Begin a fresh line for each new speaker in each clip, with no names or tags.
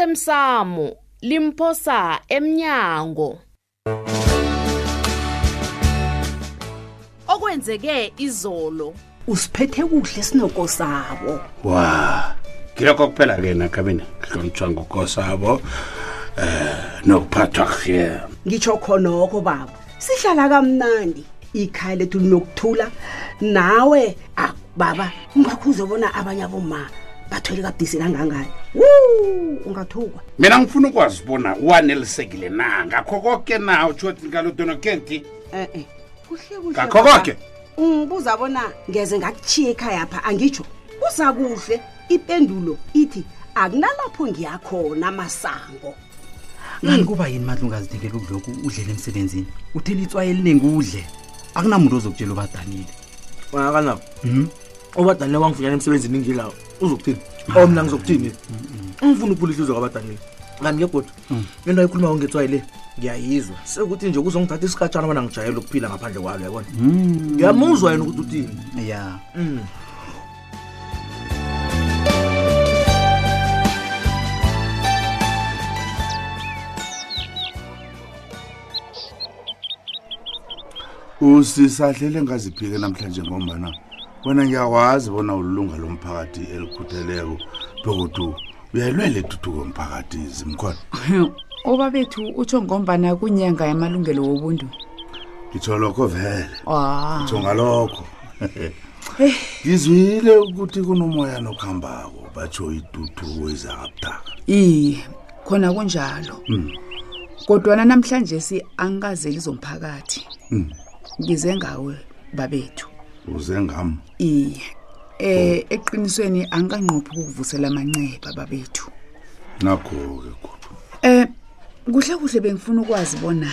osemsamo limphosa emnyango okwenzeke izolo
usiphethe kuhle sinoko sabo
wa ngilokho kuphela-ke nakabini hlonitshwa ngokosabo eh nokuphathwa kuhle
ngitsho khonoko baba sihlala kamnandi ikhaya lethu linokuthula nawe ah, baba ungakhuze bona abanye aboma bathwele kabudisi kangangani wu ungathukwa
mina ngifuna ukwazi bona uwanelisekile na ngakho koke na utshothi ngalodonokenti
e-e kuhle kuhle
Ngakho
baba,
koke?
ungibuza bona ngeze ngakuchiya ekhaya pha angitsho kuza kuhle ipendulo ithi akunalapho ngiyakhona masango
kanti kuba yini madla ungazinikeli kulokhu udlele emsebenzini utheni itswaye eliningi udle akunamuntu ozokutshela ubadanile
wena kanabo
Mhm.
ubadanile wangifunyana emsebenzini ngilawo uzokuthini aw mina ngizokuthini
Mhm,
ngifuna ukubula ihliziyo kwabadanile kanti-ke goda into ayikhulumako ngetswayi le ngiyayizwa sekuthi nje kuzongithatha isikatshana bona ngijayele ukuphila ngaphandle kwalo yabona
Mhm.
ngiyamuzwa yena ukuthi uthini
ya
usisahlele ngaziphike namhlanje ngombana wena ngiyakwazi bona ulunga lomphakathi elikhutheleko bekodu uyayilwela etuthuko mphakathi zimkhona
oba bethu utsho ngombana kunyanga yamalungelo wobuntu
ngitsho lokho vele
a
ngitsho ngalokho ngizwile ukuthi kunomoya nokuhambako batsho ituthuko izakabutaka
iye khona kunjalo kodwana namhlanje si angikazeli zomphakathi ngize ngawe babethu
uze ngam
iye eh eqinisweni angikanqophi ukuvusela amanceba babethu
nakho-ke godu
Eh kuhle kuhle bengifuna ukwazi bona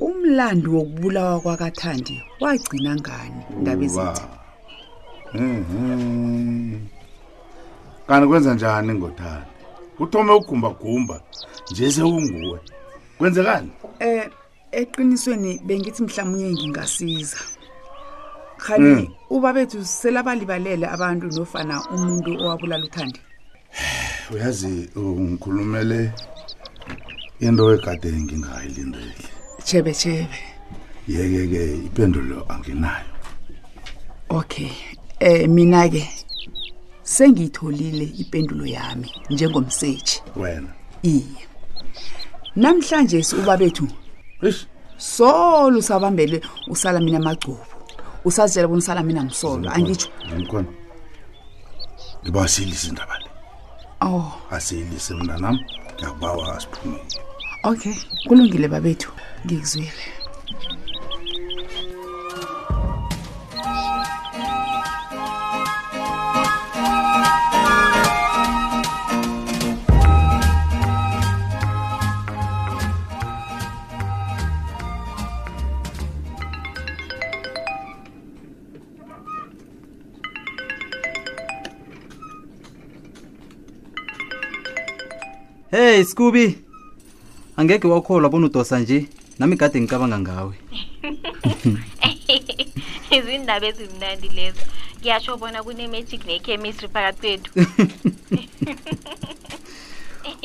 umlando wokubulawa kwakathandi wagcina ngani indaba ezithi
Mhm. kanti kwenza njani ngothanda kuthome ugumbagumba nje sewunguwe kwenzekani
Eh eqinisweni bengithi mhlawumnye ngingasiza. Khani uba bethu selabalibalele abantu nofana umuntu owabulala uthandi.
uyazi ungikhulumele into egade ngingayilindele
Chebe chebe.
yeke-ke ipendulo anginayo
Okay. Eh mina ke sengitholile ipendulo yami njengomseji.
wena
Iye. Namhlanje uba bethu
eish
solo sabambele usala mina magcubo. Usazitshela bona usala mina ngisolo angitsho.
ngikhona ngiba asiyilise indaba le
Oh,
asiyilise mntanam ngiyakubawa asiphumeke
okay. Kulungile babethu. Ngikuzwile.
heyi scubi angeke wakholwa bona udosa nje nami kade ngicabanga ngawe
izindaba ezimnandi lezo ngiyatsho bona kune-magic ne-chemistry phakathi kwethu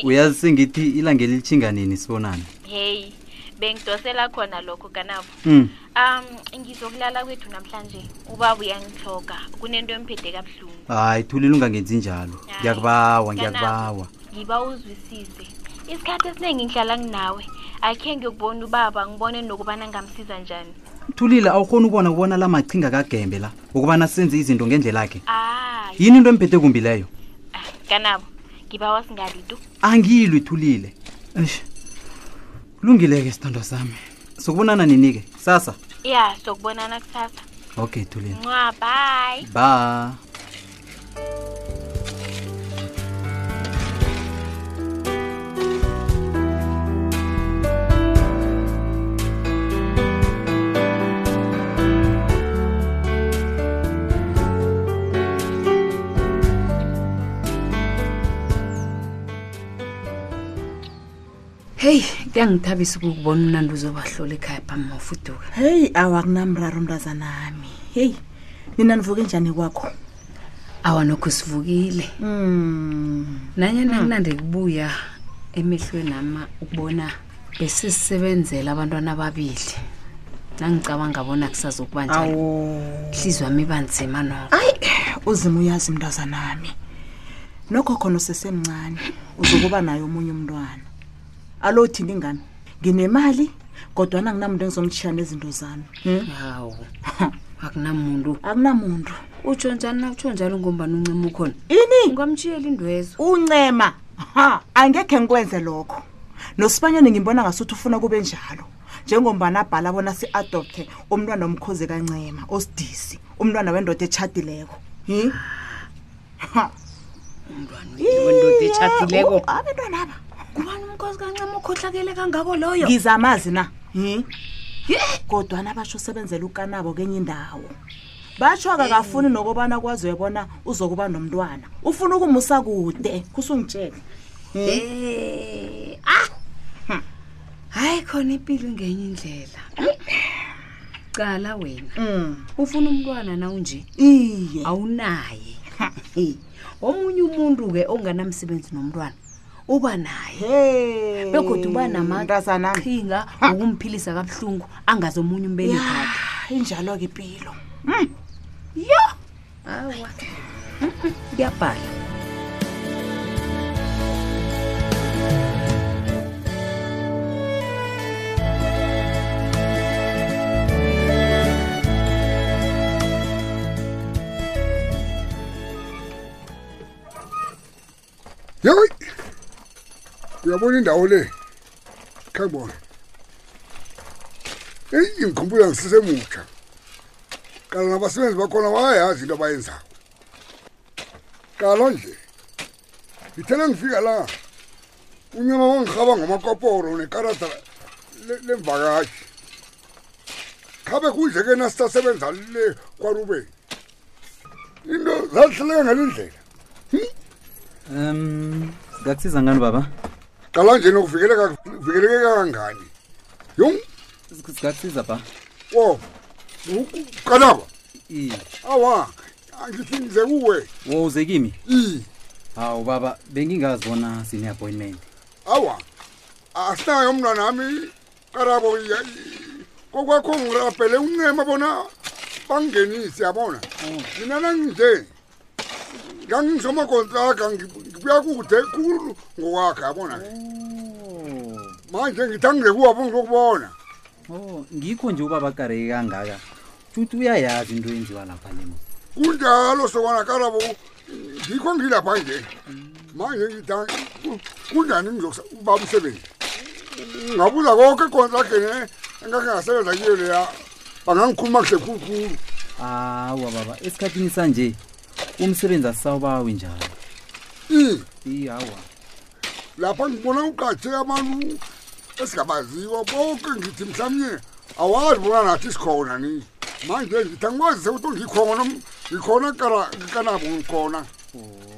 uyazi sengithi ilanga elitshinga nini sibonane
heyi bengidosela khona lokho kanabo
Mm.
um ngizokulala kwethu namhlanje ubaba uyangihloga kunento emphethe kabuhlungu
hayi thulile ungangenzi njalo
Hayi.
ngiyakubawa
Kanabo,
ngiyakubawa
ngiba uzwisise isikhathi esiningi ngihlala nginawe akhe ngiyokubona ubaba ngibone nokubana ngamsiza njani
thulile awukhoni ukubona kubona la machinga kagembe la ukubana senze izinto ngendlela yakhe
ayi
yini into emphethe kumbi leyo
kanabo ngiba wasingalito
angilwi thulile eish kulungile-ke sithandwa sami sokubonana nini-ke sasa
ya sokubonana kusasa
okay thulile
ncwa bye
ba
heyi kuyangithabisa ukukubona unandi uzobahlola ekhaya phambi mafuduka
heyi awa kunamraro mntazanami heyi nina nivuke njani kwakho
awa nokho sivukile nanyana kunande kubuya emehlweni ama ukubona besisebenzela abantwana ababili nangicabanga bona kusazokuba njalo hlizwa mi banzima noko
hayi uzima uyazi mntazanami nokho khona usesemncane uzokuba naye omunye umntwana alo thini ingane nginemali kodwana anginamuntu engizomtshiya nezinto zami Hmm?
hawu akunamuntu
akunamuntu
utsho njani nakutsho njalo ngombani uncima ukhona
ini
ungamtshiyela indwezo
uncema ha angekhe ngikwenze lokho nosibanyane ngimbona ngasuthi ufuna kube njalo njengombana abhala bona si-adopthe umntwana omkhozi kancema osidisi umntwana wendoda etshadileko Hmm? Ha,
wendoda etshatileko
oh, abentwana aba
kubani umkhosi kancima ukhohlakele kangako loyo
ngizamazi na Hmm? kodwana basho usebenzela ukanabo kenye indawo batsho kakafuni nokobana kwaziwe bona uzokuba nomntwana ufuna ukumusa kude kusungitshele
Eh, ah hayi khona impilo ngenye indlela cala wena
Mm.
ufuna umntwana na unje
iye
awunaye omunye umuntu-ke onganamsebenzi nomntwana uba naye
Hey.
begodwa uba
Mntazanami.
namaqhinga okumphilisa kabuhlungu angazi omunye
Ya,
umbelekakhe
injalo-ke impilo
awa Mm, mm, kuyabhala
yoyi uyabona indawo le khayibona eyi ngikhumbula ngisesemutsha kala nabasebenzi bakhona bayayazi into abayenzayo kala nje ngithena ngifika la unyama wangihaba ngamakoporo nekarada le- lemvakashi khabe kudle ke nasisasebenza le kwarubeni into zazihleleka ngale ndlela
um ngakusiza ngani baba
qala nje nokuvikeleka vikeleke kangangani yung
ngakusiza ba
wo kanaba
iye
awa angithi ngize kuwe
wo uze kimi
i
hawu baba bengingazi bona sine-appointment
awa asinayo mna nami karabo iya- i- kokwakho ngirabhele uncema bona bangenise yabona mina nanginje ngangisomakontraka ngibuya kude khulu ngokwakhe yabona ke manje ngithi angingekuwabo ngizokubona
oh ngikho nje ubaba kareke kangaka futhi uyayazi into yenziwa lapha lemo
kunjalo sokwana karabo ngikho ngilapha nje manje ngida ku- kunjani ngizokuba umsebenzi ngabuza konke contract ne engake ngasebenza kiyo leya bangangikhuluma kuhle khulukhulu
hawa baba esikhathini sanje umsebenzi asisawubawi njalo
i
iye hawa
lapha ngibona uqathe abantu esingabaziwa bonke ngithi mhlawumnye awazi bona nathi sikhona ni manje ngithi angikwazise ukuthi ngikhona ngikhona kara- kanabo ngikhona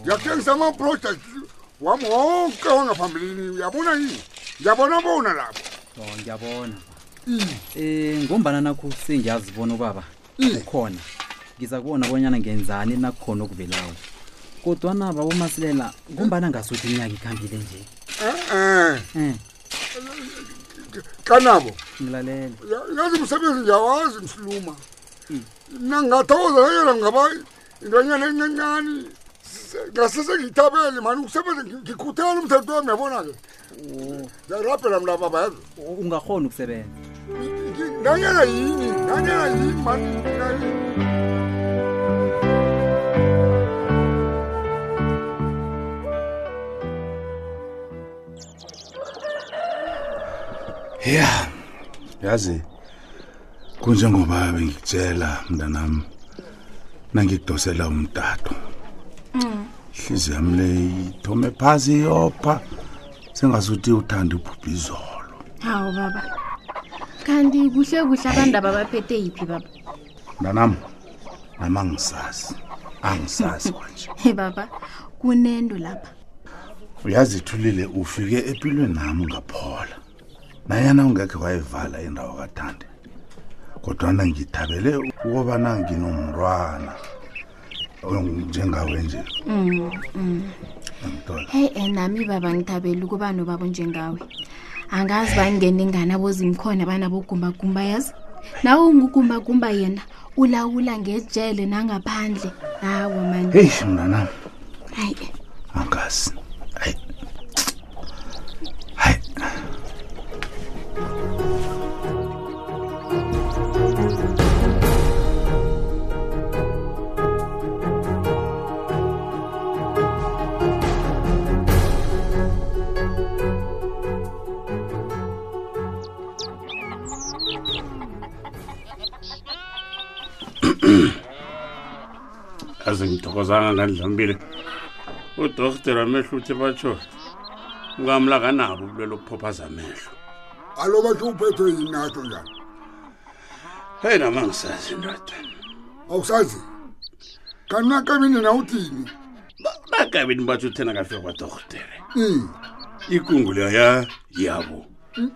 ngiyakuthengisa ama-project wami wonke wangaphambilini uyabona yini ngiyabona bona lapho
o ngiyabona
Mm.
um ngombana nakho sengiyazibona ubaba
Mm.
ukhona ngiza kubona bonyana ngenzani nakukhona okuvelayo kodwana babomasilela ngombana ngasuthi iminyaka ikhambile nje
e-e
um
eh, kanabo
ngilalele
Ya- yazi msebenzi ngiyawazi msiluma
Mm.
mna ngingathokoza yona ngaba intonyana encancane ngasese ngiyithabele mani ukusebenza ngi- ngikhuthele umthetho wami yabona-ke ngiyarabhela mla baba yazi
ungakhona ukusebenza
Ngi- nanyana yini nanyana yini mani nanyana yini.
ya yazi kunjengoba bengikutshela mntanami nangikudosela umtato hlizi yami le ithome phasi yopha sengazuthi uthanda uphupha izolo
hawu baba kanti kuhle kuhle abandaba baphethe yiphi baba
mntanami nama angisazi angisazi kwanje
he baba kunento lapha
uyazi thulile ufike empilweni nami ngaphola nayana ungekhe wayivala indawo kathande kodwana ngithabele ukobana nginomntwana njengawe nje
Mm, mm.
angitola
heyi um nami baba ngithabeli ukuba nobaba njenggawe angazi bangene ingane abozimkhona banabogumbakumba yazi nawe ungugumbagumba yena ulawula ngejele nangaphandle hawa manje
heyi mnanam
hayi
angazi
aze ngithokozanga ngandlambile udoktere wamehlo uthi batsho ukamlakanabo ubulwelo okuphophaza amehlo
alo batho uphethwe yinato njani
heyi nama ngisazi ndoda
awusazi kanti nakabini nawuthini
nakabini batsho uthena kafika kwadoktere
Mm,
ikungu leya yabo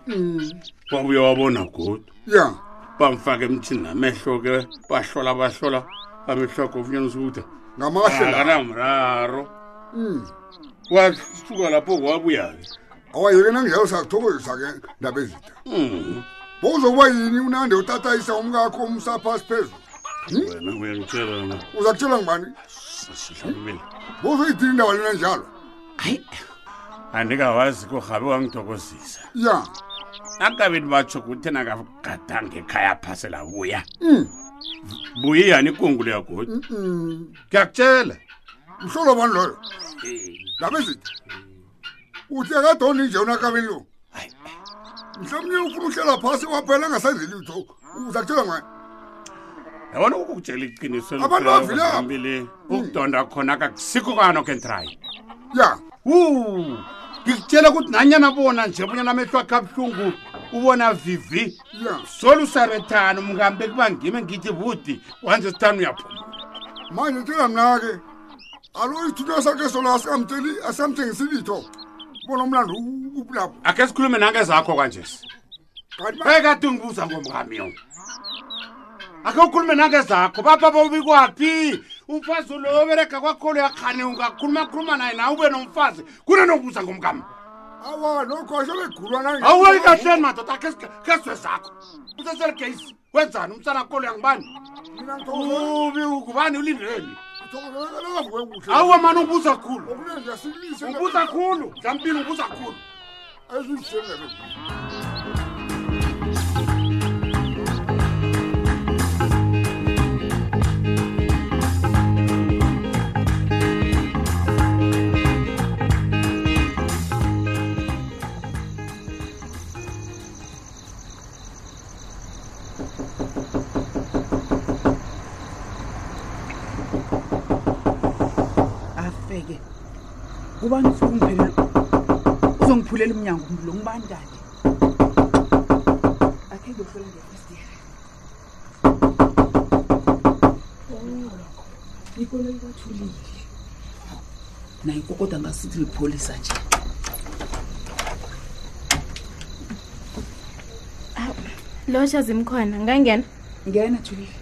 mm,
wabuye wabona godu
ya
bamfaka emthini namehlo ke bahlola bahlola amehlo akho funyanisa ukuthi
Ngamahle la.
Ah, akanamraro
mm.
wasuka lapho kwabuya-ke
awayeke nangiyayo sakuthokozisa ke ndaba ezitha
Mm.
bowuzokuba yini unande utatayisa umkakho umsaphasi phezulu
wena uyangitshela na
uza kutshela ngubani
sasihlambile
bowuzoyidini indaba lena njalo
andikawazi kurhabe wangithokozisa
ya
akabeni batsho kuthi nakagadange ekhaya phasela buya
Mm.
buye yani ikungu leyagodi
Mm-mm.
ngiyakutshela
mhlolo bani loyo ndaba ezitha uthi akadoni nje unakabeni lo mhlawumnye ufuna uhlela phasi kwaphela angasenzi litho uza kutshela ngubani
yabona ukukutshela iqiniso
Abantu bavile apha.
elikhulaphambili ukudonda khona kakusikho kanokentrayi
ya
wu ngikutshela ukuthi nanyana bona nje bunyana amehlo akhe abuhlungu ubona vivi
ya
solusarethana umngambe kuba ngime ngithi budi wanje sithani uyaphuma
manje tshela mna-ke alo isithuthwa sakhe solo asikamtsheli asikamthengisi litho bona umlando ubulapho
akhe sikhulume nangezakho kanjesi ekade ungibuza ngomkamiyo akhe ukhulume nangezakho bapha bobikwaphi umfazi lo obereka kwakholo yakhane ungakhulumakhuluma naye nawe ube nomfazi kunenokubuza ngomkami
awa lokho asebegulwa nange-
awuyi kahleni madoda akhe sizwe zakho useseligesi wenzani umsana kolo yangubani
Mina ngithokozela-
ubi ngubani ulindeleni
ngithokozelakalazi wekuhle.
awuwe mani ubuza khulu
Okunenje asilise-
ubuza khulu dlampini ubuza khulu
Ezilise ngeke.
afeke kubani ufika ungiphelela uzongiphulela umnyango mlo ngubani kanti akhe ngiyohlola ngefestire ikolo ibathulile naye kokoda ngasithi lipholisa nje
lotsha zimkhona ngangena
ngena thulile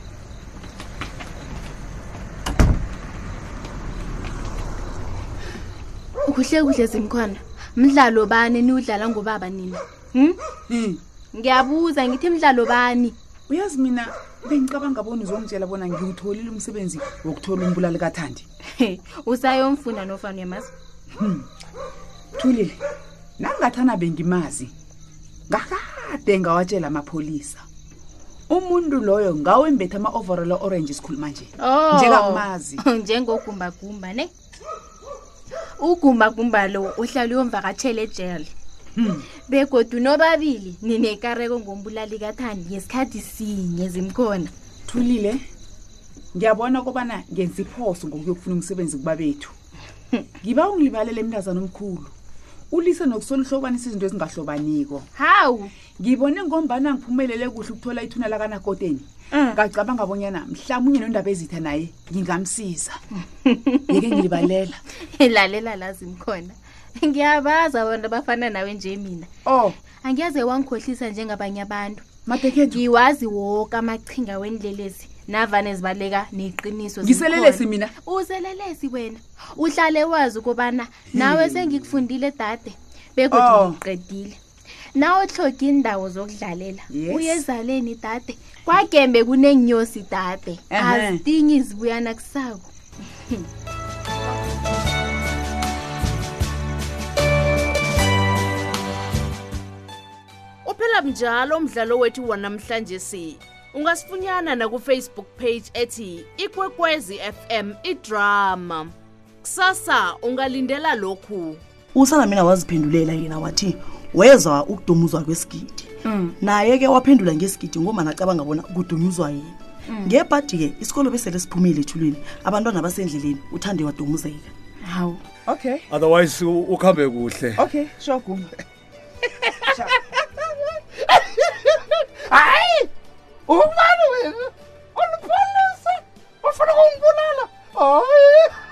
kuhle kuhle zimkhona mdlalo bani niwudlala ngobaba nina hm? ngiyabuza ngithi mdlalo bani
uyazi mina bengicabanga bona uzongitshela bona ngiwutholile umsebenzi wokuthola umbulali kathandi
usayomfunda nofana uyamazi
Hmm. thulile nangathana bengimazi ngakade ngawatshela amapholisa umuntu loyo ngawembetha ama-overall orange sikhuluma nje
Oh.
njengakumazi
njengogumbagumba ne ugumbagumba lo uhlala uyomvakatshela ejele
Hmm.
begodu nobabili ninekareko ngombulali kathandi ngesikhathi sinye zimkhona
thulile ngiyabona kobana ngenza iphoso ngokuyokufuna umsebenzi kuba bethu ngiba ungilibalele emntazana omkhulu ulise nokusolihlobanisa izinto ezingahlobaniko
hawu
ngibone ngombana ngiphumelele kuhle ukuthola ithuna lakanakoteni ngacabanga bonyana mhlawumunye nondaba ezitha naye ngingamsiza yeke ngilibalela
lalela la zimkhona ngiyabaza abantu abafana nawe nje mina
oh
angiyaze wangikhohlisa njengabanye abantu
madekhethu
ngiwazi woke amachinga wendlelezi navane zibaleka neqiniso
Ngiselelesi
zikhona.
mina.
uselelesi wena uhlale wazi ukubana nawe sengikufundile dade
Hmm. Oh.
begodwa ngiqedile nawe hloga indawo zokudlalela
Yes.
uye ezaleni dade kwagembe kunenyosi dade
Ehhe.
azidingi izibuyana kusako
uphela mnjalo umdlalo wethu wanamhlanje si ungasifunyana nakufacebook page ethi ikwekwezi fm idrama kusasa ungalindela lokhu
usana mina waziphendulela yena wathi wezwa ukudumuzwa kwesigidi
Mm.
naye ke waphendula ngesigidi ngomana acabanga bona kudumuzwa yena
Mm.
ngebhadi-ke isikolo besele siphumile ethulwini abantwana basendleleni uthande wadumuzeka
hawu
okay
otherwise u- ukuhambe kuhle
okay sure gumba
hayi ubani wena olupolisa ufuna kungibulala hayi